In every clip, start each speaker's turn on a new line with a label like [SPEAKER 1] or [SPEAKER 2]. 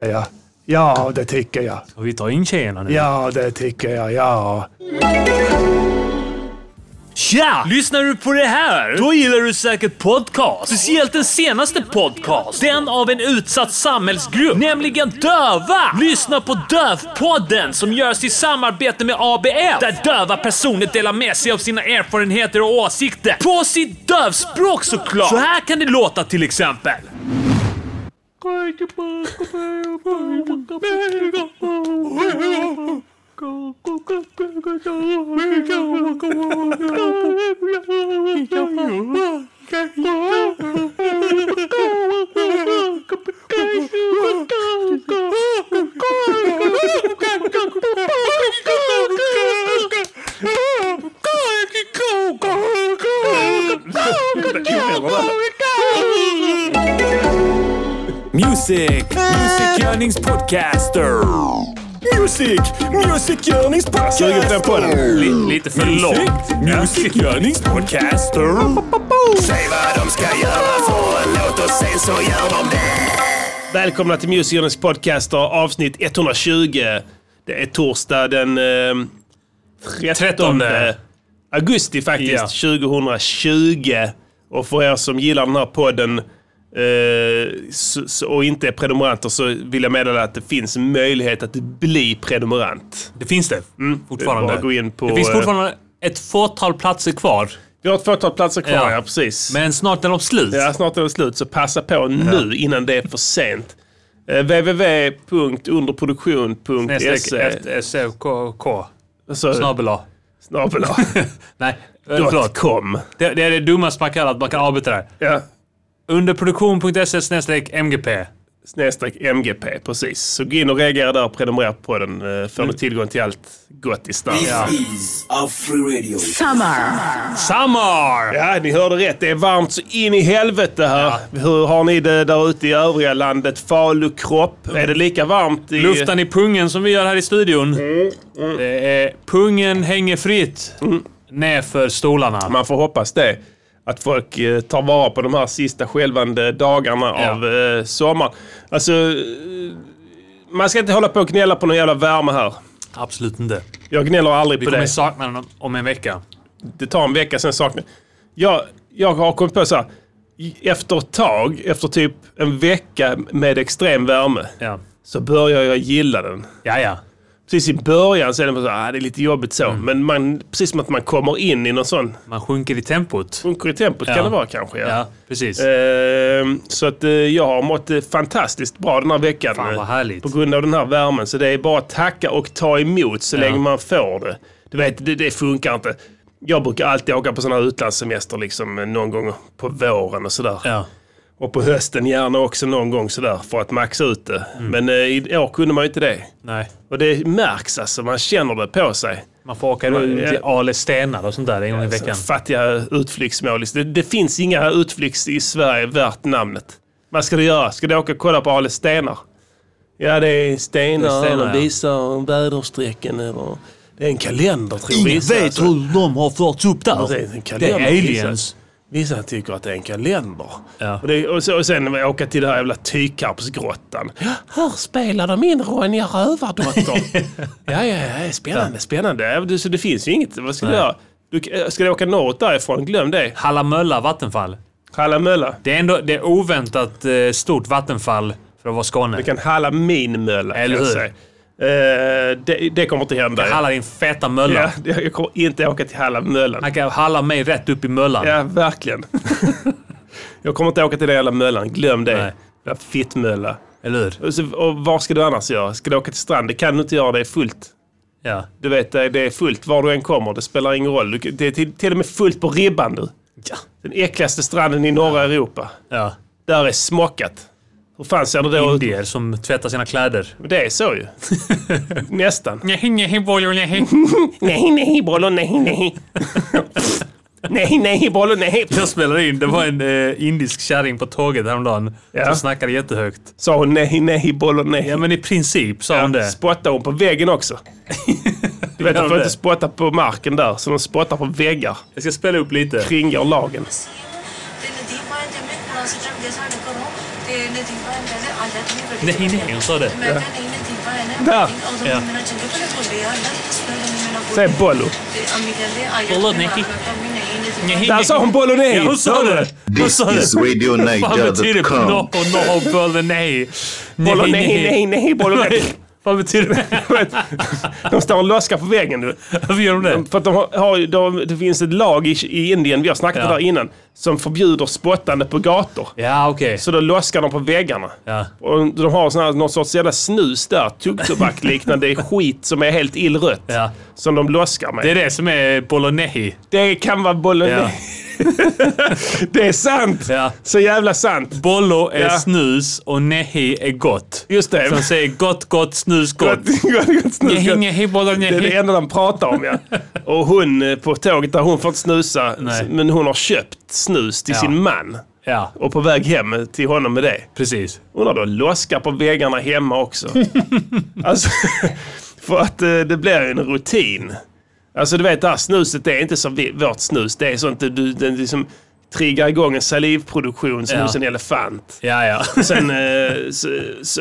[SPEAKER 1] säger jag. Ja, det tycker jag.
[SPEAKER 2] Ska vi ta in tjejerna nu?
[SPEAKER 1] Ja, det tycker jag. Ja.
[SPEAKER 2] Tja! Lyssnar du på det här? Då gillar du säkert podcast. Speciellt den senaste podcast. Den av en utsatt samhällsgrupp, nämligen döva! Lyssna på Dövpodden som görs i samarbete med ABF. Där döva personer delar med sig av sina erfarenheter och åsikter. På sitt dövspråk såklart! Så här kan det låta till exempel.
[SPEAKER 3] Music! Music-görningspodcaster! Music! Music-görningspodcaster!
[SPEAKER 4] Suger på den podden.
[SPEAKER 2] Li- lite för långt.
[SPEAKER 3] Music-görningspodcaster!
[SPEAKER 5] Säg vad de ska göra för en låt och sen så gör de det.
[SPEAKER 4] Välkomna till Music Journeys podcaster avsnitt 120. Det är torsdag den eh, 13
[SPEAKER 2] Trettonde.
[SPEAKER 4] augusti faktiskt, 2020. Och för er som gillar den här podden eh, så- så- och inte är prenumeranter så vill jag meddela att det finns möjlighet att bli prenumerant.
[SPEAKER 2] Det finns det.
[SPEAKER 4] Det är
[SPEAKER 2] fortfarande.
[SPEAKER 4] bara att gå in på,
[SPEAKER 2] det finns
[SPEAKER 4] eh,
[SPEAKER 2] fortfarande ett fåtal platser kvar.
[SPEAKER 4] Vi har ett fåtal platser kvar, ja,
[SPEAKER 2] Ja.
[SPEAKER 4] precis.
[SPEAKER 2] Men snart är de slut.
[SPEAKER 4] Ja, snart är det slut, så passa på nu innan det är för sent. Eh, E. www.underproduktion.se
[SPEAKER 2] SFK.
[SPEAKER 4] Alltså,
[SPEAKER 2] Snabel A.
[SPEAKER 4] snabel A.
[SPEAKER 2] Nej, eh,
[SPEAKER 4] Dot
[SPEAKER 2] förlåt.
[SPEAKER 4] com.
[SPEAKER 2] Det, det är det dummaste man kan, att man kan avbryta det här.
[SPEAKER 4] Ja,
[SPEAKER 2] Underproduktion.se E snedstreck MGP.
[SPEAKER 4] snedstreck MGP, precis. Så gå in och reagera där och prenumerera på den. eh, Får
[SPEAKER 2] Mm.
[SPEAKER 4] du tillgång till allt gottis där. Ja.
[SPEAKER 5] Is of free radio.
[SPEAKER 2] Summer!
[SPEAKER 4] ja, ni hörde rätt. Det är varmt så in i helvete här. Hur har ni det där ute i övriga landet? Falukropp? Är det lika varmt i...
[SPEAKER 2] Luftan i pungen som vi gör här i studion.
[SPEAKER 4] Mm,
[SPEAKER 2] Det är, pungen hänger fritt nerför stolarna.
[SPEAKER 4] Man får hoppas det. Att folk eh, tar vara på de här sista skälvande dagarna
[SPEAKER 2] Ja.
[SPEAKER 4] av eh, sommaren. Alltså, eh, man ska inte hålla på och gnälla på någon jävla värme här.
[SPEAKER 2] Absolut inte.
[SPEAKER 4] Jag gnäller aldrig
[SPEAKER 2] Vi
[SPEAKER 4] på
[SPEAKER 2] kommer
[SPEAKER 4] det.
[SPEAKER 2] sakna den om- om en vecka.
[SPEAKER 4] det tar en vecka, sen saknar jag... Jag har kommit på så här. i- Efter ett tag, efter typ en vecka med extrem värme,
[SPEAKER 2] Ja,
[SPEAKER 4] så börjar jag gilla den.
[SPEAKER 2] ja. ja.
[SPEAKER 4] Precis i början så är det bara så här, ah, det är lite jobbigt så.
[SPEAKER 2] Mm.
[SPEAKER 4] Men man, precis som att man kommer in i någon sån...
[SPEAKER 2] Man sjunker i tempot.
[SPEAKER 4] Sjunker i tempot
[SPEAKER 2] Ja.
[SPEAKER 4] kan det vara kanske. Ja.
[SPEAKER 2] Ja, Eh. precis.
[SPEAKER 4] Ehm, så att eh, jag har mått eh, fantastiskt bra den här veckan. eh,
[SPEAKER 2] Fan, vad härligt.
[SPEAKER 4] På grund av den här värmen. Så det är bara att tacka och ta emot så
[SPEAKER 2] Ja.
[SPEAKER 4] länge man får det. Du vet, det, det funkar inte. Jag brukar alltid åka på sådana här utlandssemester liksom eh, någon gång på våren och sådär.
[SPEAKER 2] Ja.
[SPEAKER 4] Och på hösten gärna också någon gång sådär för att maxa ut det.
[SPEAKER 2] Mm.
[SPEAKER 4] Men eh, i år kunde man ju inte det.
[SPEAKER 2] Nej.
[SPEAKER 4] Och det märks alltså, man känner det på sig.
[SPEAKER 2] Man får åka runt till Ale stenar och sånt där en gång i veckan.
[SPEAKER 4] Alltså, fattiga utflyktsmål. Det, det finns inga utflykts i Sverige värt namnet. Vad ska du göra? Ska du åka och kolla på Ale stenar? Ja, det är stenar,
[SPEAKER 2] Det är stenar,
[SPEAKER 4] och
[SPEAKER 2] ja.
[SPEAKER 4] visar väderstrecken. över- Det är en kalender, tror vissa. alltså.
[SPEAKER 2] hur de har förts upp där.
[SPEAKER 4] Det är en
[SPEAKER 2] Det
[SPEAKER 4] kalender.
[SPEAKER 2] är aliens.
[SPEAKER 4] Vissa, vissa tycker att det är en kalender.
[SPEAKER 2] Ja.
[SPEAKER 4] Och, det, och, så, och sen åka till den här jävla Tykarpsgrottan. Här spelar de in Ronja Rövardotter. ja, ja, ja, spännande, spännande. Ja, du- Så det finns ju inget. Vad ska du göra? Du, ska du åka norrut därifrån? Glöm det.
[SPEAKER 2] Hallamölla vattenfall.
[SPEAKER 4] Hallamölla.
[SPEAKER 2] Det är ändå det är oväntat eh, stort vattenfall för att vara Skåne.
[SPEAKER 4] Du kan halla min mölla.
[SPEAKER 2] Eller
[SPEAKER 4] kan jag
[SPEAKER 2] hur?
[SPEAKER 4] säga. Eh, det, det kommer inte hända.
[SPEAKER 2] Halla din feta mölla.
[SPEAKER 4] ja, jag jag kommer inte åka till Hallamöllan.
[SPEAKER 2] Han kan halla mig rätt upp i möllan.
[SPEAKER 4] Ja, verkligen. jag kommer inte åka till den jävla möllan. Glöm det.
[SPEAKER 2] Nej.
[SPEAKER 4] Jävla fittmölla.
[SPEAKER 2] Eller hur?
[SPEAKER 4] Och, så, och vad ska du annars göra? Ska du åka till strand? Det kan du inte göra. Det är fullt.
[SPEAKER 2] Ja.
[SPEAKER 4] Du vet, det det är fullt var du än kommer. Det spelar ingen roll. Du, det är till, till och med fullt på ribban du.
[SPEAKER 2] Ja.
[SPEAKER 4] Den äckligaste stranden i norra Europa.
[SPEAKER 2] ja.
[SPEAKER 4] Där är smockat. Hur fan ser det då ut?
[SPEAKER 2] Indier som tvättar sina kläder.
[SPEAKER 4] Det är så ju. Nästan. Nej, nej, bollo, nej, nej. nej, nej, bollo, nej.
[SPEAKER 2] Jag spelar in, det var en eh, indisk kärring på tåget häromdagen
[SPEAKER 4] Ja.
[SPEAKER 2] som snackade jättehögt.
[SPEAKER 4] Sa hon nej, nej, bollo, nej.
[SPEAKER 2] Ja men i princip sa hon det.
[SPEAKER 4] Spottade hon på väggen också? Du
[SPEAKER 2] Gör
[SPEAKER 4] vet, de
[SPEAKER 2] hon
[SPEAKER 4] får
[SPEAKER 2] det?
[SPEAKER 4] inte spotta på marken där, så de spottar på väggar.
[SPEAKER 2] Jag ska spela upp lite.
[SPEAKER 4] Kringar lagen.
[SPEAKER 6] તેને દીપ મારે તેમને ખુલાસો જેમ બેસાડે કરો તે
[SPEAKER 2] Nej, nej, hon sa det.
[SPEAKER 4] Där.
[SPEAKER 2] Ja.
[SPEAKER 4] Säg Bollo.
[SPEAKER 2] Bolotniki. Nej.
[SPEAKER 4] Där sa hon bolognese!
[SPEAKER 2] Ja, hon sa det. Hon
[SPEAKER 6] This
[SPEAKER 2] sa det.
[SPEAKER 6] is RadioNiger.com.
[SPEAKER 2] Vad betyder no, no, bolognese? Nej,
[SPEAKER 4] Bolognese, nej, nej, bolognese.
[SPEAKER 2] Vad betyder det?
[SPEAKER 4] De står och loskar på väggen nu.
[SPEAKER 2] Varför gör de det?
[SPEAKER 4] För att de har, har, ju- de, det finns ett lag i, i Indien, vi har snackat om
[SPEAKER 2] Ja.
[SPEAKER 4] det där innan, som förbjuder spottande på gator.
[SPEAKER 2] Ja, okej.
[SPEAKER 4] Så då loskar de på väggarna.
[SPEAKER 2] Ja.
[SPEAKER 4] Och de har sån här, någon sorts jävla snus där, tuggtobak-liknande skit som är helt illrött.
[SPEAKER 2] Ja.
[SPEAKER 4] Som de loskar med.
[SPEAKER 2] Det
[SPEAKER 4] Det,
[SPEAKER 2] är det som är bolognese.
[SPEAKER 4] kan vara bolognese.
[SPEAKER 2] Ja.
[SPEAKER 4] Det är sant!
[SPEAKER 2] Ja.
[SPEAKER 4] Så jävla sant!
[SPEAKER 2] Bollo är
[SPEAKER 4] Ja.
[SPEAKER 2] snus och nehi är gott.
[SPEAKER 4] Just det.
[SPEAKER 2] Som säger gott, gott, snus, gott. Nehi, nehi,
[SPEAKER 4] Det är det
[SPEAKER 2] bolognese.
[SPEAKER 4] enda de pratar om ja. Och hon eh, på tåget där, hon får inte snusa.
[SPEAKER 2] Nej.
[SPEAKER 4] Men hon har köpt snus till
[SPEAKER 2] Ja.
[SPEAKER 4] sin man.
[SPEAKER 2] Ja,
[SPEAKER 4] Och på väg hem till honom med det.
[SPEAKER 2] precis.
[SPEAKER 4] Hon har då loskar på väggarna hemma också. alltså, för att eh, det blir ju en rutin. Alltså du vet det här snuset det är inte som vi, vårt snus. Det är sånt du, du den liksom triggar igång en salivproduktion som
[SPEAKER 2] Ja.
[SPEAKER 4] hos en elefant.
[SPEAKER 2] Ja, ja.
[SPEAKER 4] Sen, eh, så, så,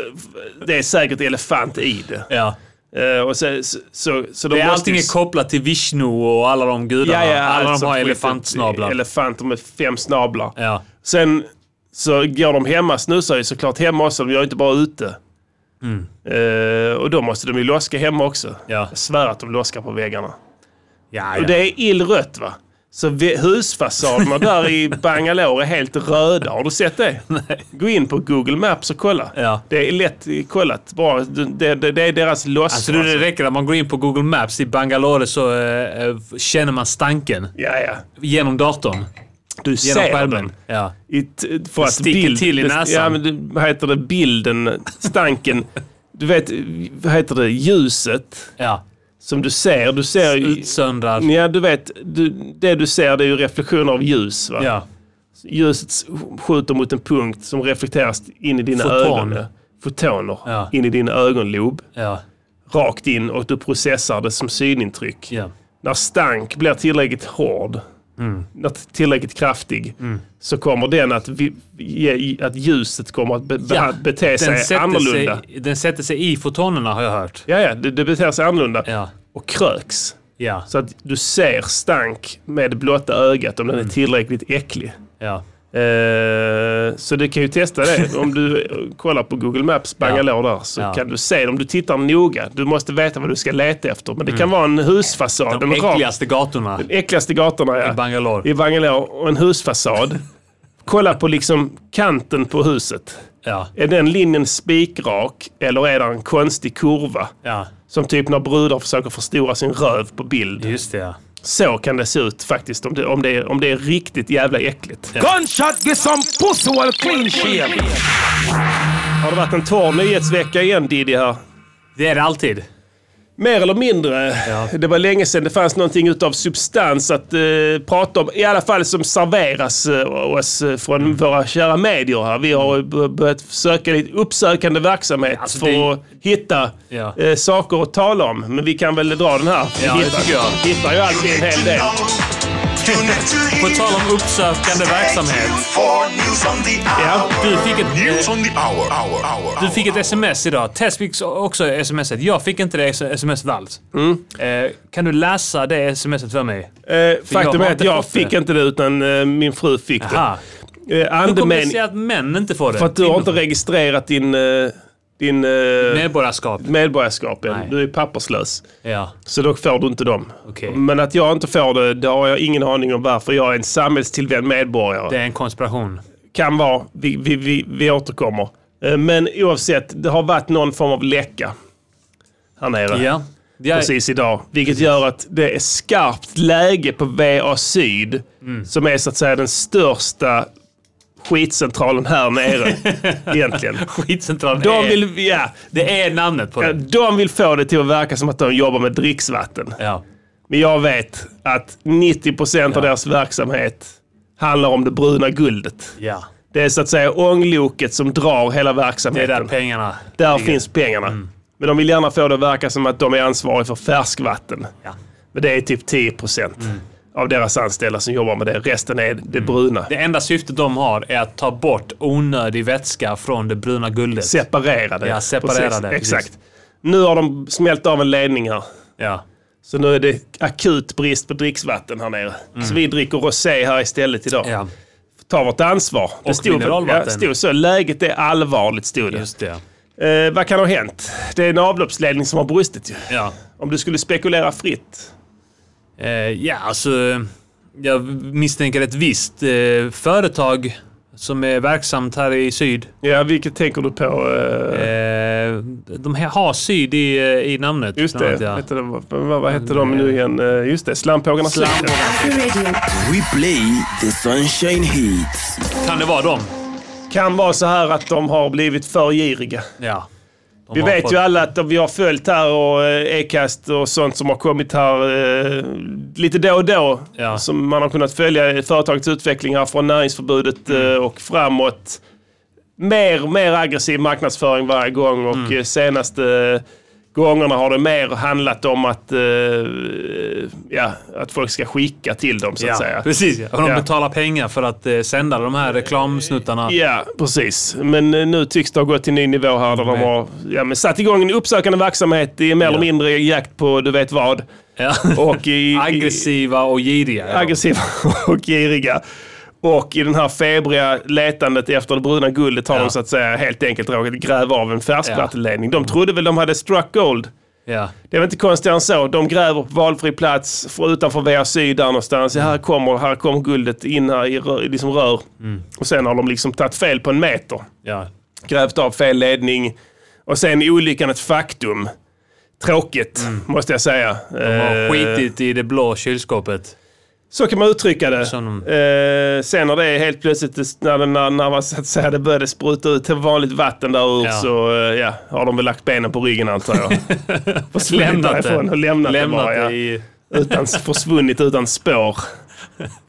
[SPEAKER 4] det är säkert elefant i det.
[SPEAKER 2] ja.
[SPEAKER 4] Eh, och så, så, så, så de
[SPEAKER 2] Det är
[SPEAKER 4] måste
[SPEAKER 2] allting
[SPEAKER 4] ju-
[SPEAKER 2] är kopplat till Vishnu och alla de gudarna.
[SPEAKER 4] Ja, ja,
[SPEAKER 2] alla
[SPEAKER 4] alltså,
[SPEAKER 2] de har
[SPEAKER 4] skit-
[SPEAKER 2] elefantsnablar.
[SPEAKER 4] Elefanter med fem snablar.
[SPEAKER 2] ja.
[SPEAKER 4] Sen så går de hemma, snusar ju såklart hemma också. De gör ju inte bara ute. Eh, och då måste de ju loska hemma också.
[SPEAKER 2] Mm. Ja.
[SPEAKER 4] Jag svär att de loskar på väggarna.
[SPEAKER 2] Ja,
[SPEAKER 4] Och
[SPEAKER 2] ja.
[SPEAKER 4] det är illrött va? Så vi- husfasaderna där i Bangalore är helt röda. Har du sett det? Gå in på Google Maps och kolla.
[SPEAKER 2] Ja.
[SPEAKER 4] Det är lätt kollat. Bara, det, det, det är deras loss.
[SPEAKER 2] Alltså du, det räcker att man går in på Google Maps i Bangalore så eh, eh, känner man stanken.
[SPEAKER 4] Ja, ja.
[SPEAKER 2] Genom datorn.
[SPEAKER 4] Du
[SPEAKER 2] Genom
[SPEAKER 4] ser den.
[SPEAKER 2] skärmen. Ja.
[SPEAKER 4] I t- för att
[SPEAKER 2] sticker
[SPEAKER 4] bild,
[SPEAKER 2] till i
[SPEAKER 4] det-
[SPEAKER 2] näsan.
[SPEAKER 4] Ja, men det, vad heter det? Bilden, stanken. du vet, vad heter det? Ljuset
[SPEAKER 2] ja.
[SPEAKER 4] som du ser. Du ser ju...
[SPEAKER 2] Utsöndrad.
[SPEAKER 4] Ja, du vet. Du, det du ser det är ju reflektioner av ljus. Va?
[SPEAKER 2] Ja.
[SPEAKER 4] Ljuset s- skjuter mot en punkt som reflekteras in i dina
[SPEAKER 2] Foton.
[SPEAKER 4] ögon. Fotoner.
[SPEAKER 2] Ja.
[SPEAKER 4] In i din ögonlob.
[SPEAKER 2] Ja.
[SPEAKER 4] Rakt in och du processar det som synintryck.
[SPEAKER 2] Ja.
[SPEAKER 4] När stank blir tillräckligt hård,
[SPEAKER 2] Mm.
[SPEAKER 4] när t- tillräckligt kraftig, så kommer den att, vi, ge, att ljuset kommer att be,
[SPEAKER 2] Ja,
[SPEAKER 4] ja, bete
[SPEAKER 2] Den
[SPEAKER 4] sig
[SPEAKER 2] sätter
[SPEAKER 4] annorlunda.
[SPEAKER 2] sig, den sätter sig i fotonerna har jag hört.
[SPEAKER 4] Ja, ja, det, det beter sig annorlunda.
[SPEAKER 2] Ja.
[SPEAKER 4] Och kröks.
[SPEAKER 2] Ja.
[SPEAKER 4] Så att du ser stank med blotta ögat om den
[SPEAKER 2] Mm.
[SPEAKER 4] är tillräckligt äcklig.
[SPEAKER 2] Ja.
[SPEAKER 4] Eh, så du kan ju testa det. Om du eh, kollar på Google Maps Bangalore där så
[SPEAKER 2] Ja.
[SPEAKER 4] kan du se det. Om du tittar noga. Du måste veta vad du ska leta efter. Men det kan vara en husfasad.
[SPEAKER 2] Mm. De
[SPEAKER 4] en rak-
[SPEAKER 2] äckligaste gatorna
[SPEAKER 4] äckligaste gatorna ja.
[SPEAKER 2] i Bangalore.
[SPEAKER 4] i Bangalore och en husfasad. Kolla på liksom kanten på huset.
[SPEAKER 2] Ja.
[SPEAKER 4] Är den linjen spikrak eller är det en konstig kurva?
[SPEAKER 2] Ja.
[SPEAKER 4] Som typ när brudar försöker förstora sin röv på bild.
[SPEAKER 2] Just det ja.
[SPEAKER 4] Så kan det se ut faktiskt om det, om det, är, om det är riktigt jävla äckligt.
[SPEAKER 3] Gunshot, get some pussy while clean shit.
[SPEAKER 4] Har det varit en torr nyhetsvecka igen Diddy här?
[SPEAKER 2] Det är det alltid.
[SPEAKER 4] Mer eller mindre. Det var länge sedan det fanns någonting utav substans att eh, prata om. I alla fall som serveras eh, oss eh, från
[SPEAKER 2] Mm.
[SPEAKER 4] våra kära medier här. Vi har b- börjat söka lite uppsökande verksamhet
[SPEAKER 2] Alltså,
[SPEAKER 4] för
[SPEAKER 2] det-
[SPEAKER 4] att hitta
[SPEAKER 2] Ja.
[SPEAKER 4] eh, saker att tala om. Men vi kan väl dra den här. Vi
[SPEAKER 2] Ja, det tycker jag.
[SPEAKER 4] hittar ju alltid en hel del.
[SPEAKER 2] På tal om uppsökande verksamhet.
[SPEAKER 4] Ja,
[SPEAKER 2] Du fick ett, eh,
[SPEAKER 5] on the hour, hour, hour.
[SPEAKER 2] du fick ett sms idag. Tess fick också smset. Jag fick inte det smset alls.
[SPEAKER 4] Mm.
[SPEAKER 2] Eh, kan du läsa det smset för mig?
[SPEAKER 4] eh,
[SPEAKER 2] jag
[SPEAKER 4] faktum
[SPEAKER 2] har
[SPEAKER 4] är att
[SPEAKER 2] inte
[SPEAKER 4] jag
[SPEAKER 2] fått det.
[SPEAKER 4] fick inte det utan eh, min fru fick
[SPEAKER 2] Aha.
[SPEAKER 4] det. Eh,
[SPEAKER 2] Hur kommer det
[SPEAKER 4] andemening...
[SPEAKER 2] sig att män inte får det?
[SPEAKER 4] För att du har inte registrerat din... Eh, din eh,
[SPEAKER 2] Medborgarskap.
[SPEAKER 4] medborgarskap. än.
[SPEAKER 2] Nej.
[SPEAKER 4] Du är papperslös.
[SPEAKER 2] Ja.
[SPEAKER 4] Så då får du inte dem.
[SPEAKER 2] Okej.
[SPEAKER 4] Men att jag inte får det, det har jag ingen aning om varför. Jag är en samhällstillvänd medborgare.
[SPEAKER 2] Det är en konspiration.
[SPEAKER 4] Kan vara. Vi, vi, vi, vi återkommer. Eh, Men oavsett, det har varit någon form av läcka här nere.
[SPEAKER 2] Ja. Jag,
[SPEAKER 4] Precis idag. Vilket gör att det är skarpt läge på VA Syd.
[SPEAKER 2] Mm.
[SPEAKER 4] Som är så att säga den största skitcentralen här nere. egentligen.
[SPEAKER 2] Skitcentralen
[SPEAKER 4] De
[SPEAKER 2] är,
[SPEAKER 4] vill, ja,
[SPEAKER 2] det är namnet på
[SPEAKER 4] Ja,
[SPEAKER 2] det.
[SPEAKER 4] De vill få det till att verka som att de jobbar med dricksvatten.
[SPEAKER 2] Ja.
[SPEAKER 4] Men jag vet att 90% av deras verksamhet handlar om det bruna guldet.
[SPEAKER 2] ja.
[SPEAKER 4] Det är så att säga ångloket som drar hela
[SPEAKER 2] Det är
[SPEAKER 4] verksamheten.
[SPEAKER 2] där pengarna
[SPEAKER 4] där
[SPEAKER 2] ligger. Mm.
[SPEAKER 4] finns pengarna. Men de vill gärna få det att verka som att de är ansvariga för färskvatten.
[SPEAKER 2] Ja. Mm.
[SPEAKER 4] Men det är typ 10%. av deras anställda som jobbar med det. Resten är det bruna.
[SPEAKER 2] Det enda syftet de har är att ta bort onödig vätska från det bruna guldet.
[SPEAKER 4] Separerade.
[SPEAKER 2] Ja, separerade,
[SPEAKER 4] Precis,
[SPEAKER 2] precis.
[SPEAKER 4] Exakt. Nu har de smält av en ledning här.
[SPEAKER 2] Ja.
[SPEAKER 4] Så nu är det akut brist på dricksvatten här nere. Så vi dricker rosé här istället idag.
[SPEAKER 2] Mm. ja,
[SPEAKER 4] Ta vårt ansvar. Det
[SPEAKER 2] Och mineralvatten.
[SPEAKER 4] Ja, stod så. Läget är allvarligt, stod det.
[SPEAKER 2] just det.
[SPEAKER 4] Eh, vad kan ha hänt? Det är en avloppsledning som har brustit ju.
[SPEAKER 2] Ja,
[SPEAKER 4] Om du skulle spekulera fritt.
[SPEAKER 2] eh, ja alltså. Jag misstänker ett visst eh, företag som är verksamt här i syd.
[SPEAKER 4] Ja, vilket tänker du på? Eh,
[SPEAKER 2] Eh, de här har syd i, eh, i namnet.
[SPEAKER 4] just
[SPEAKER 2] bland
[SPEAKER 4] det.
[SPEAKER 2] annat,
[SPEAKER 4] Vet du, vad, vad, vad hette de nu igen? Eh, Just det, Slampågarnas
[SPEAKER 2] Slam-
[SPEAKER 4] släkte.
[SPEAKER 6] After Radio.
[SPEAKER 5] We play the sunshine hits.
[SPEAKER 2] ja. Kan det vara dem?
[SPEAKER 4] Kan vara så här att de har blivit för giriga.
[SPEAKER 2] Ja. De
[SPEAKER 4] Vi
[SPEAKER 2] har
[SPEAKER 4] vet
[SPEAKER 2] fått-
[SPEAKER 4] ju alla att vi har följt här och eh, e-kast och sånt som har kommit här eh, lite då och då.
[SPEAKER 2] Ja.
[SPEAKER 4] Som man har kunnat följa företagets utveckling här från näringsförbudet
[SPEAKER 2] Mm.
[SPEAKER 4] eh, och framåt. Mer, mer aggressiv marknadsföring varje gång och
[SPEAKER 2] Mm.
[SPEAKER 4] eh, senaste gångerna har det mer handlat om att, eh, ja, att folk ska skicka till dem så att
[SPEAKER 2] ja,
[SPEAKER 4] säga.
[SPEAKER 2] Precis, ja. Och de
[SPEAKER 4] Ja.
[SPEAKER 2] betalar pengar för att eh, sända de här reklamsnuttarna.
[SPEAKER 4] Ja, precis. Men eh, nu tycks det ha gått till ny nivå här där de
[SPEAKER 2] Nej.
[SPEAKER 4] har ja, men satt igång en uppsökande verksamhet i mer eller mindre jakt på du vet vad.
[SPEAKER 2] Ja.
[SPEAKER 4] Och i, i,
[SPEAKER 2] Aggressiva och giriga. är de.
[SPEAKER 4] aggressiva och giriga. Och i den här febriga letandet efter det bruna guldet har
[SPEAKER 2] Ja.
[SPEAKER 4] de så att säga helt enkelt råkat gräva av en färskvattenledning. De trodde väl de hade struck gold.
[SPEAKER 2] Ja.
[SPEAKER 4] Det är väl inte konstigare än så. De gräver på valfri plats för, utanför VA Syd där någonstans. Ja, här, kommer, här kommer guldet in här i rör, liksom rör.
[SPEAKER 2] Mm.
[SPEAKER 4] Och sen har de liksom tagit fel på en meter
[SPEAKER 2] Ja.
[SPEAKER 4] grävt av fel ledning. Och sen är olyckan ett faktum. Tråkigt, måste jag säga.
[SPEAKER 2] Mm. De
[SPEAKER 4] Eh,
[SPEAKER 2] har skitit i det blå kylskåpet.
[SPEAKER 4] Så kan man uttrycka det.
[SPEAKER 2] Som de-
[SPEAKER 4] Eh, sen när det är helt plötsligt, när, när, när man, så att säga, det började spruta ut till vanligt vatten där ur
[SPEAKER 2] Ja.
[SPEAKER 4] så eh, ja, har de väl lagt benen på ryggen antar jag. Försvunnit
[SPEAKER 2] Lämnat
[SPEAKER 4] därifrån
[SPEAKER 2] det.
[SPEAKER 4] Och lämnat,
[SPEAKER 2] Lämnat
[SPEAKER 4] det, bara,
[SPEAKER 2] det
[SPEAKER 4] ja.
[SPEAKER 2] i...
[SPEAKER 4] utan, Försvunnit utan spår.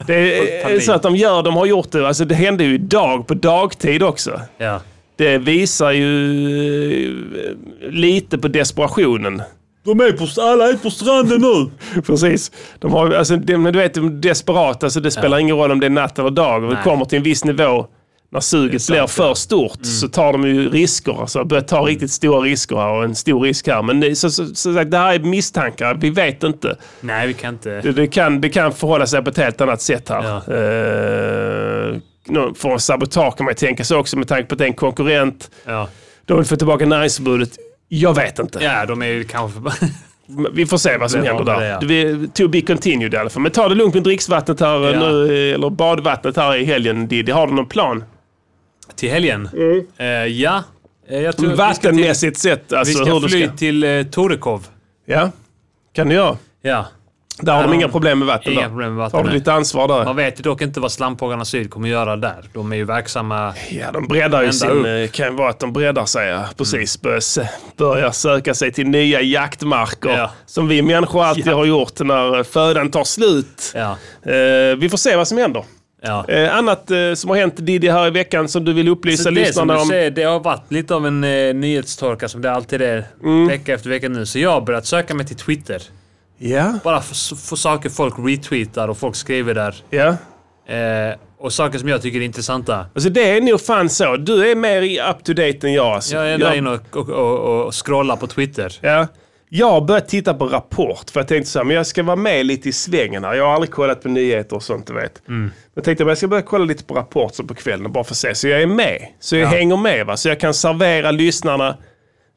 [SPEAKER 4] Det är,
[SPEAKER 2] Panik.
[SPEAKER 4] så att de gör, de har gjort det, alltså det hände ju idag på dagtid också.
[SPEAKER 2] Ja.
[SPEAKER 4] Det visar ju eh, lite på desperationen.
[SPEAKER 2] De är på, alla är på stranden nu.
[SPEAKER 4] Precis. De har, alltså, de, men du vet, de är desperata, så det spelar ingen roll om det är natt eller dag. Det kommer till en viss nivå. När suget blir för stort så tar de ju risker. Alltså, börjar ta riktigt stora risker här och en stor risk här. Men det, så, så, så sagt, det här är misstankar. Vi vet inte.
[SPEAKER 2] Nej, vi kan inte.
[SPEAKER 4] Det, det, kan, det kan förhålla sig på ett helt annat sätt här.
[SPEAKER 2] Ja.
[SPEAKER 4] Eh, någon form av sabotage kan man ju tänka sig också med tanke på att det är en konkurrent.
[SPEAKER 2] Ja,
[SPEAKER 4] De vill få tillbaka näringsförbudet. Jag vet inte.
[SPEAKER 2] ja de är ju kanske...
[SPEAKER 4] Men Vi får se vad som
[SPEAKER 2] Det var
[SPEAKER 4] händer
[SPEAKER 2] det,
[SPEAKER 4] där.
[SPEAKER 2] ja.
[SPEAKER 4] Vi, to be continued i alla fall. Men ta det lugnt med dricksvattnet här
[SPEAKER 2] Ja.
[SPEAKER 4] nu, eh, eller badvattnet här i helgen Diddy. Har du någon plan?
[SPEAKER 2] till helgen.
[SPEAKER 4] Mm.
[SPEAKER 2] Eh, ja. Eh, Jag tror vi ska
[SPEAKER 4] Vattenmässigt sett,
[SPEAKER 2] till- Vi
[SPEAKER 4] alltså
[SPEAKER 2] ska
[SPEAKER 4] hur du
[SPEAKER 2] fly
[SPEAKER 4] ska...
[SPEAKER 2] till eh, Torekov.
[SPEAKER 4] Ja, kan du göra.
[SPEAKER 2] Ja.
[SPEAKER 4] Där har
[SPEAKER 2] har
[SPEAKER 4] de inga
[SPEAKER 2] de-
[SPEAKER 4] problem med vatten
[SPEAKER 2] Inga
[SPEAKER 4] där.
[SPEAKER 2] problem med
[SPEAKER 4] Har
[SPEAKER 2] vatten.
[SPEAKER 4] du
[SPEAKER 2] nej.
[SPEAKER 4] lite ansvar där?
[SPEAKER 2] Man vet ju dock inte vad Slampågarna Syd kommer göra där. De är ju verksamma.
[SPEAKER 4] Ja, de breddar ju
[SPEAKER 2] Ända
[SPEAKER 4] sin...
[SPEAKER 2] upp. Mm.
[SPEAKER 4] eh, kan ju vara att de breddar sig, ja. Precis. Börjar se- Börjar söka sig till nya jaktmarker.
[SPEAKER 2] Ja.
[SPEAKER 4] Som vi människor alltid har gjort när eh, födan tar slut.
[SPEAKER 2] Ja.
[SPEAKER 4] Eh, vi får se vad som händer.
[SPEAKER 2] ja.
[SPEAKER 4] Eh, annat eh, som har hänt Diddy här i veckan som du vill upplysa
[SPEAKER 2] Så det som
[SPEAKER 4] lyssnarna
[SPEAKER 2] du
[SPEAKER 4] om?
[SPEAKER 2] säger, det har varit lite av en eh, nyhetstorka som det alltid är
[SPEAKER 4] Mm.
[SPEAKER 2] vecka efter vecka nu. Så jag har börjat söka mig till Twitter.
[SPEAKER 4] Ja,
[SPEAKER 2] Bara för, för saker folk retweetar och folk skriver där.
[SPEAKER 4] ja.
[SPEAKER 2] Eh, och saker som jag tycker är intressanta.
[SPEAKER 4] Alltså det är nog fan så. Du är mer i up to date än jag. Alltså.
[SPEAKER 2] Jag är där inne och, och, och, och scrollar på Twitter.
[SPEAKER 4] ja. Jag har börjat titta på Rapport för jag tänkte så här, men jag ska vara med lite i svängen här. Jag har aldrig kollat på nyheter och sånt du vet. Mm. Jag tänkte att jag ska börja kolla lite på Rapport så på kvällen bara för att se. Så jag är med. Så jag hänger med va. Så jag kan servera lyssnarna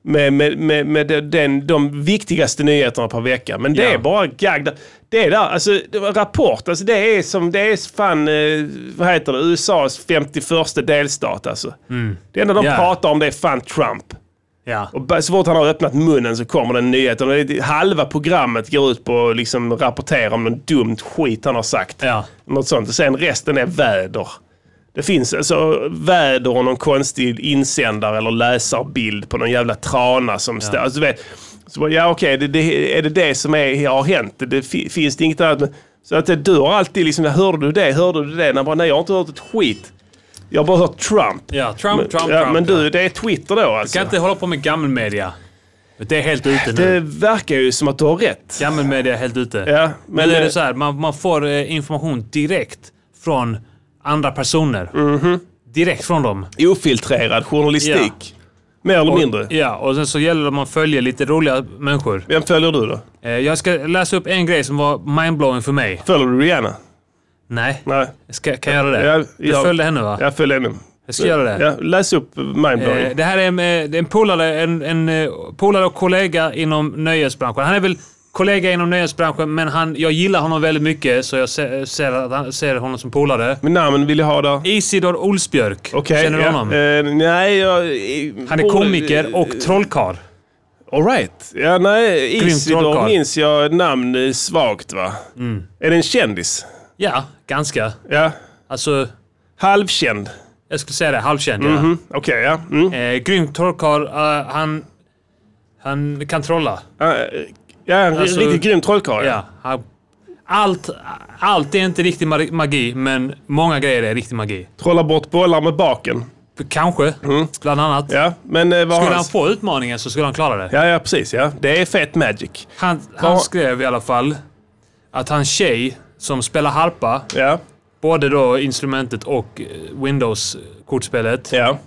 [SPEAKER 4] med, med, med, med de- den, de viktigaste nyheterna per vecka. Men det
[SPEAKER 2] Ja.
[SPEAKER 4] är bara gagg. där. Det är där, alltså det var Rapport, alltså det är som, det är fan, eh, vad heter det, USAs 51 delstat alltså. Det enda de
[SPEAKER 2] Mm. Ja.
[SPEAKER 4] pratar om det är fan Trump.
[SPEAKER 2] Ja.
[SPEAKER 4] Och bara- så fort han har öppnat munnen så kommer den nyheten. Och det är- Halva programmet går ut på att liksom rapportera om någon dumt skit han har sagt.
[SPEAKER 2] Ja.
[SPEAKER 4] Något sånt. Och sen resten är väder. Det finns alltså väder och någon konstig insändare eller läsarbild på någon jävla trana som står... Alltså, du vet, så bara, ja okej, det, det, är det det som är, har hänt? Det, det, fi- finns det inget annat? Men- Så att det, du har alltid liksom, hörde du det? Hörde du det? Nej, bara, nej, jag har inte hört ett skit. Jag har bara hört Trump.
[SPEAKER 2] Ja, Trump, Trump,
[SPEAKER 4] ja,
[SPEAKER 2] Trump.
[SPEAKER 4] men du, det är Twitter då alltså?
[SPEAKER 2] Kan inte hålla på med gammal media. Det är helt ute
[SPEAKER 4] Det
[SPEAKER 2] nu.
[SPEAKER 4] verkar ju som att du har rätt.
[SPEAKER 2] Ja, men med det är helt ute.
[SPEAKER 4] Ja, men
[SPEAKER 2] Men är
[SPEAKER 4] eh,
[SPEAKER 2] det så här, man, man får eh, information direkt från andra personer.
[SPEAKER 4] Mhm.
[SPEAKER 2] Direkt från dem.
[SPEAKER 4] ofiltrerad journalistik. Mer eller mindre.
[SPEAKER 2] Ja, och sen så gäller det att man följer lite roliga människor.
[SPEAKER 4] Vem följer du då?
[SPEAKER 2] Eh, Jag ska läsa upp en grej som var mindblowing för mig.
[SPEAKER 4] Följer du Rihanna?
[SPEAKER 2] Nej.
[SPEAKER 4] Nej.
[SPEAKER 2] Ska, kan jag göra det?
[SPEAKER 4] Ja,
[SPEAKER 2] du
[SPEAKER 4] ja.
[SPEAKER 2] följde henne va?
[SPEAKER 4] Jag följer henne.
[SPEAKER 2] Jag ska göra det.
[SPEAKER 4] Ja, läs upp mindblowing.
[SPEAKER 2] Eh, Det här är en, eh, det är en polare, en, en eh, polare och kollega inom nöjesbranschen. Han är väl kollega inom nöjesbranschen, men han, jag gillar honom väldigt mycket så jag ser, ser, att han, ser honom som polare.
[SPEAKER 4] Men namn vill jag ha där.
[SPEAKER 2] Isidor Olsbjörk.
[SPEAKER 4] Okej.
[SPEAKER 2] Känner du
[SPEAKER 4] ja.
[SPEAKER 2] honom?
[SPEAKER 4] Eh, nej, jag...
[SPEAKER 2] Han är komiker och trollkarl.
[SPEAKER 4] Alright. Ja, nej.
[SPEAKER 2] Grymt
[SPEAKER 4] Isidor
[SPEAKER 2] trollkarl. Mm.
[SPEAKER 4] minns jag namn eh, svagt, va? Är det en kändis?
[SPEAKER 2] Ja, ganska.
[SPEAKER 4] Ja.
[SPEAKER 2] Alltså,
[SPEAKER 4] Halvkänd.
[SPEAKER 2] jag skulle säga det. Halvkänd,
[SPEAKER 4] Mm, Okej, ja. Mm.
[SPEAKER 2] ja. Eh, grym trollkarl. eh, han, han kan trolla.
[SPEAKER 4] Ah, eh, Ja, en
[SPEAKER 2] Alltså-
[SPEAKER 4] riktigt grym trollkarl. Ja.
[SPEAKER 2] Ja, han, allt, allt är inte riktig ma- magi, men många grejer är riktig magi.
[SPEAKER 4] Trollar bort bollar med baken.
[SPEAKER 2] Kanske, bland annat.
[SPEAKER 4] Mm. Ja, men eh, vad har
[SPEAKER 2] Skulle han
[SPEAKER 4] hans-
[SPEAKER 2] få utmaningen så skulle han klara det.
[SPEAKER 4] Ja, ja, precis. Ja. Det är fet magic.
[SPEAKER 2] Han,
[SPEAKER 4] Vad-
[SPEAKER 2] han skrev i alla fall att hans tjej som spelar harpa,
[SPEAKER 4] Ja,
[SPEAKER 2] både då instrumentet och eh, Windows-kortspelet,
[SPEAKER 4] ja,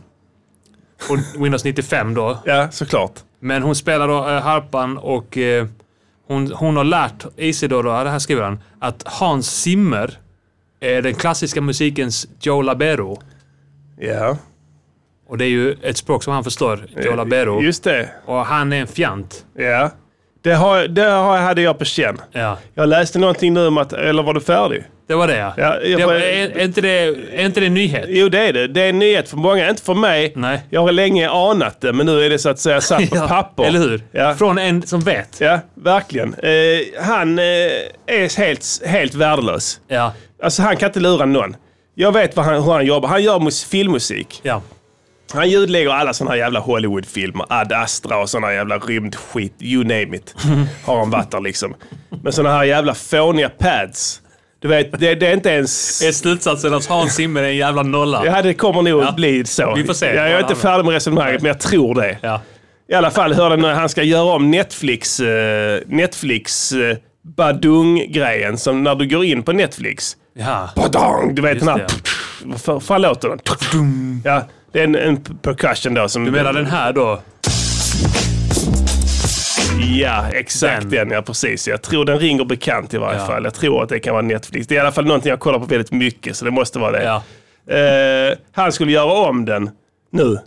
[SPEAKER 2] och Windows 95 då.
[SPEAKER 4] ja såklart.
[SPEAKER 2] Men hon spelar då eh, harpan och eh, hon, hon har lärt Isidor, då, det här skriver han, att Hans Zimmer är den klassiska musikens Joe Labero.
[SPEAKER 4] Ja.
[SPEAKER 2] Och det är ju ett språk som han förstår, Joe Labero.
[SPEAKER 4] Eh, Just det.
[SPEAKER 2] Och han är en fjant.
[SPEAKER 4] Ja. Det, har, det har, hade jag på känn.
[SPEAKER 2] Ja,
[SPEAKER 4] Jag läste någonting nu om att... Eller var du färdig?
[SPEAKER 2] det var det ja.
[SPEAKER 4] Ja, jag
[SPEAKER 2] det
[SPEAKER 4] får-
[SPEAKER 2] var, är, är, inte det, är inte det en nyhet?
[SPEAKER 4] Jo, det är det. Det är en nyhet för många. Inte för mig.
[SPEAKER 2] Nej.
[SPEAKER 4] Jag har länge anat det, men nu är det så att säga satt på
[SPEAKER 2] Ja,
[SPEAKER 4] papper.
[SPEAKER 2] Eller hur?
[SPEAKER 4] Ja.
[SPEAKER 2] Från en som vet.
[SPEAKER 4] Ja, verkligen. Eh, han eh, är helt, helt värdelös.
[SPEAKER 2] Ja.
[SPEAKER 4] Alltså, han kan inte lura någon. Jag vet vad han, hur han jobbar. Han gör mus- filmmusik.
[SPEAKER 2] ja.
[SPEAKER 4] Han ljudlägger alla såna här jävla Hollywoodfilmer. Ad Astra och såna här jävla rymdskit. You name it. Har han varit där liksom. Med såna här jävla fåniga pads. Du vet, det, det är inte ens...
[SPEAKER 2] Är slutsatsen att Hans Zimmer är en jävla nolla?
[SPEAKER 4] Ja, det kommer nog
[SPEAKER 2] Ja.
[SPEAKER 4] att bli så.
[SPEAKER 2] Vi får se.
[SPEAKER 4] Ja, jag är inte färdig med resonemanget, men jag tror det.
[SPEAKER 2] Ja.
[SPEAKER 4] I alla fall hörde jag när han ska göra om Netflix, eh, Netflix eh, badung-grejen. Som när du går in på Netflix.
[SPEAKER 2] Ja.
[SPEAKER 4] Badung! Du vet
[SPEAKER 2] Just
[SPEAKER 4] den här...
[SPEAKER 2] det, ja.
[SPEAKER 4] Vad fan- fan låter den? Ja, det är en, en percussion då. Som,
[SPEAKER 2] Du menar den här då?
[SPEAKER 4] Ja, exakt den.
[SPEAKER 2] Den.
[SPEAKER 4] Ja, precis. Jag tror den ringer bekant i varje
[SPEAKER 2] Ja.
[SPEAKER 4] fall. Jag tror att det kan vara Netflix. Det är i alla fall någonting jag kollar på väldigt mycket, så det måste vara det.
[SPEAKER 2] Ja.
[SPEAKER 4] Eh, han skulle göra om den nu. Hans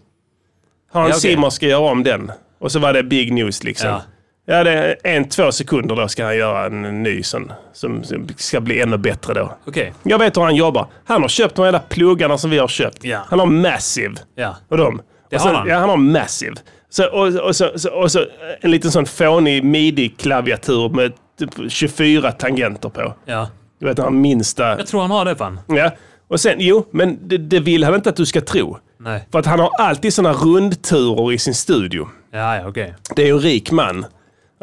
[SPEAKER 2] Ja, okej.
[SPEAKER 4] Zimmer ska göra om den. Och så var det big news liksom. Ja.
[SPEAKER 2] Ja.
[SPEAKER 4] det är en, två sekunder då ska han göra en ny sån som, som ska bli ännu bättre då.
[SPEAKER 2] Okej.
[SPEAKER 4] Jag vet hur han jobbar. Han har köpt de hela pluggarna som vi har köpt.
[SPEAKER 2] Ja.
[SPEAKER 4] Han har Massive.
[SPEAKER 2] Ja.
[SPEAKER 4] Och dem.
[SPEAKER 2] Det
[SPEAKER 4] och sen,
[SPEAKER 2] har han.
[SPEAKER 4] Ja, han har Massive. Så, och, och, så, så, och så en liten sån fånig midi-klaviatur med typ 24 tangenter på.
[SPEAKER 2] ja.
[SPEAKER 4] Du vet, den här minsta.
[SPEAKER 2] Jag tror han har det fan.
[SPEAKER 4] Ja. Och sen, jo, men det, det vill han inte att du ska tro.
[SPEAKER 2] Nej.
[SPEAKER 4] För att han har alltid såna rundturer i sin studio.
[SPEAKER 2] Ja, ja, okej.
[SPEAKER 4] Det är ju en rik man.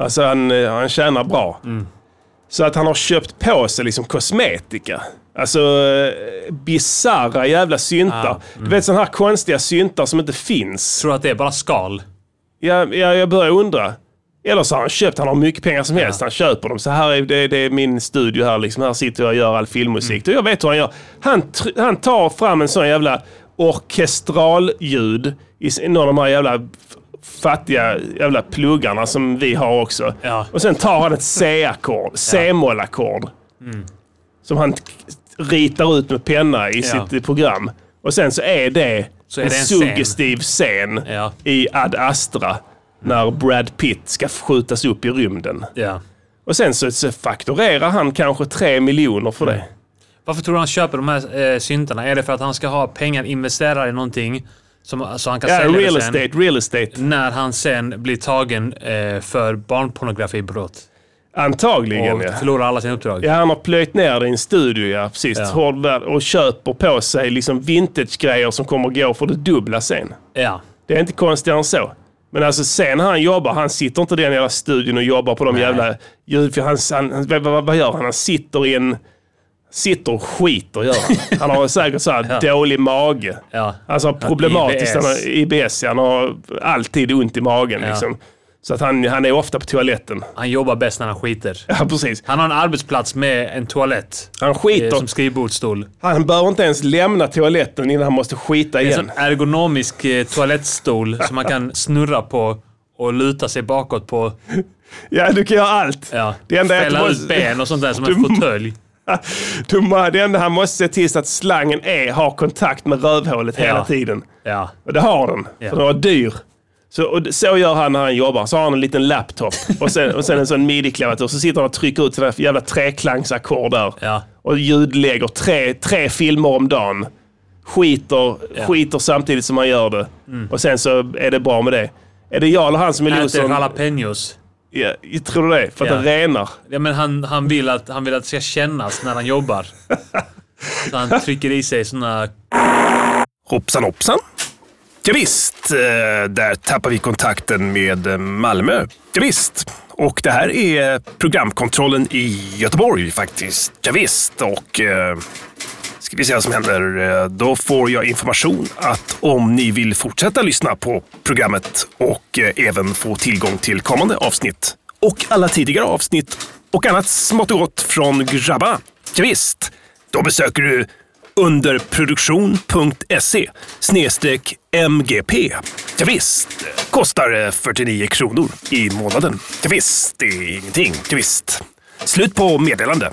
[SPEAKER 4] Alltså han, eh, han tjänar bra. Så att han har köpt på sig liksom kosmetika. Alltså eh, bisarra jävla syntar. Du vet sådana här konstiga syntar som inte finns.
[SPEAKER 2] Tror att det är bara skal?
[SPEAKER 4] Ja, ja, jag börjar undra. Eller så har han köpt, han har mycket pengar som helst. Han köper dem. Så här är, det, det är min studio här. Liksom. Här sitter jag och gör all filmmusik.
[SPEAKER 2] Mm.
[SPEAKER 4] Och jag vet hur han gör. Han, tr- han tar fram en sån jävla orkestralljud i s- någon av de här jävla f- fattiga jävla pluggarna som vi har också.
[SPEAKER 2] Ja.
[SPEAKER 4] Och sen tar han ett C-ackord, C-mollackord.
[SPEAKER 2] Mm.
[SPEAKER 4] Som han k- ritar ut med penna i
[SPEAKER 2] Ja.
[SPEAKER 4] sitt program. Och sen så är det
[SPEAKER 2] Så är det en scen.
[SPEAKER 4] suggestiv scen
[SPEAKER 2] Ja.
[SPEAKER 4] i Ad Astra när Brad Pitt ska skjutas upp i rymden.
[SPEAKER 2] Ja.
[SPEAKER 4] Och sen så, så fakturerar han kanske tre miljoner för
[SPEAKER 2] Mm.
[SPEAKER 4] det.
[SPEAKER 2] Varför tror du han köper de här eh, syntarna? Är det för att han ska ha pengar investerade i någonting som, så han kan
[SPEAKER 4] Ja,
[SPEAKER 2] sälja
[SPEAKER 4] real
[SPEAKER 2] det sen?
[SPEAKER 4] estate, real estate.
[SPEAKER 2] När han sen blir tagen eh, för barnpornografibrott
[SPEAKER 4] Antagligen
[SPEAKER 2] och
[SPEAKER 4] ja.
[SPEAKER 2] förlorar alla sina uppdrag.
[SPEAKER 4] Ja, han har plöjt ner det i en studio, ja. Precis.
[SPEAKER 2] Ja.
[SPEAKER 4] Hård värld. Och köper på sig liksom vintage-grejer som kommer gå för det dubbla sen.
[SPEAKER 2] Ja.
[SPEAKER 4] Det är inte konstigare än så. Men alltså sen han jobbar, han sitter inte i den jävla studion och jobbar på de jävla ljud... För han, han, han, vad- vad, vad gör han? Han sitter i en... Sitter och skiter gör han. Han har säkert så här dålig mage.
[SPEAKER 2] Ja.
[SPEAKER 4] Alltså
[SPEAKER 2] IBS.
[SPEAKER 4] problematiskt. Han har IBS. ja, Han har alltid ont i magen
[SPEAKER 2] Ja.
[SPEAKER 4] liksom. Så att han, han är ofta på toaletten.
[SPEAKER 2] Han jobbar bäst när han skiter.
[SPEAKER 4] Ja, precis.
[SPEAKER 2] Han har en arbetsplats med en toalett.
[SPEAKER 4] Han
[SPEAKER 2] eh,
[SPEAKER 4] skiter.
[SPEAKER 2] Som skrivbordsstol.
[SPEAKER 4] Han behöver inte ens lämna toaletten innan han måste skita
[SPEAKER 2] En
[SPEAKER 4] igen.
[SPEAKER 2] sån ergonomisk eh, toalettstol som man kan snurra på och luta sig bakåt på.
[SPEAKER 4] Ja, du kan göra allt.
[SPEAKER 2] Ja.
[SPEAKER 4] Det enda är att
[SPEAKER 2] Fälla
[SPEAKER 4] du
[SPEAKER 2] ut
[SPEAKER 4] måste-
[SPEAKER 2] ben och sånt där som
[SPEAKER 4] Du
[SPEAKER 2] en
[SPEAKER 4] må-
[SPEAKER 2] fåtölj.
[SPEAKER 4] Tomma, det enda han måste se till så att slangen är, har kontakt med rövhålet hela
[SPEAKER 2] Ja.
[SPEAKER 4] tiden.
[SPEAKER 2] Ja.
[SPEAKER 4] Och det har den,
[SPEAKER 2] Ja.
[SPEAKER 4] för den var dyr. Så, och d- så gör han när han jobbar. Så har han en liten laptop och sen, och sen en sån midi-klaviatur. Så sitter han och trycker ut sådana jävla treklangsackord där.
[SPEAKER 2] Ja.
[SPEAKER 4] Och ljudlägger tre, tre filmer om dagen. Skiter, skiter samtidigt som han gör det.
[SPEAKER 2] Mm.
[SPEAKER 4] Och sen så är det bra med det. Är det jag eller han som är
[SPEAKER 2] Äter
[SPEAKER 4] losern?
[SPEAKER 2] jalapenos.
[SPEAKER 4] Ja, jag tror du det? För att
[SPEAKER 2] Ja.
[SPEAKER 4] det renar.
[SPEAKER 2] Ja, men han, han, vill att, han vill att det ska kännas när han jobbar. Så han trycker i sig såna...
[SPEAKER 5] Hoppsan hoppsan. Ja, visst, eh, där tappar vi kontakten med eh, Malmö. Ja, visst. Och det här är programkontrollen i Göteborg faktiskt. Ja, visst. och eh, ska vi se vad som händer. Eh, Då får jag information att om ni vill fortsätta lyssna på programmet och eh, även få tillgång till kommande avsnitt och alla tidigare avsnitt och annat smått och gott från grabbarna. Ja, visst. då besöker du underproduktion.se E snedstreck MGP. Ja, visst. kostar eh, 49 kronor i månaden. Ja, visst. det är ingenting. Ja, visst. Slut på meddelande.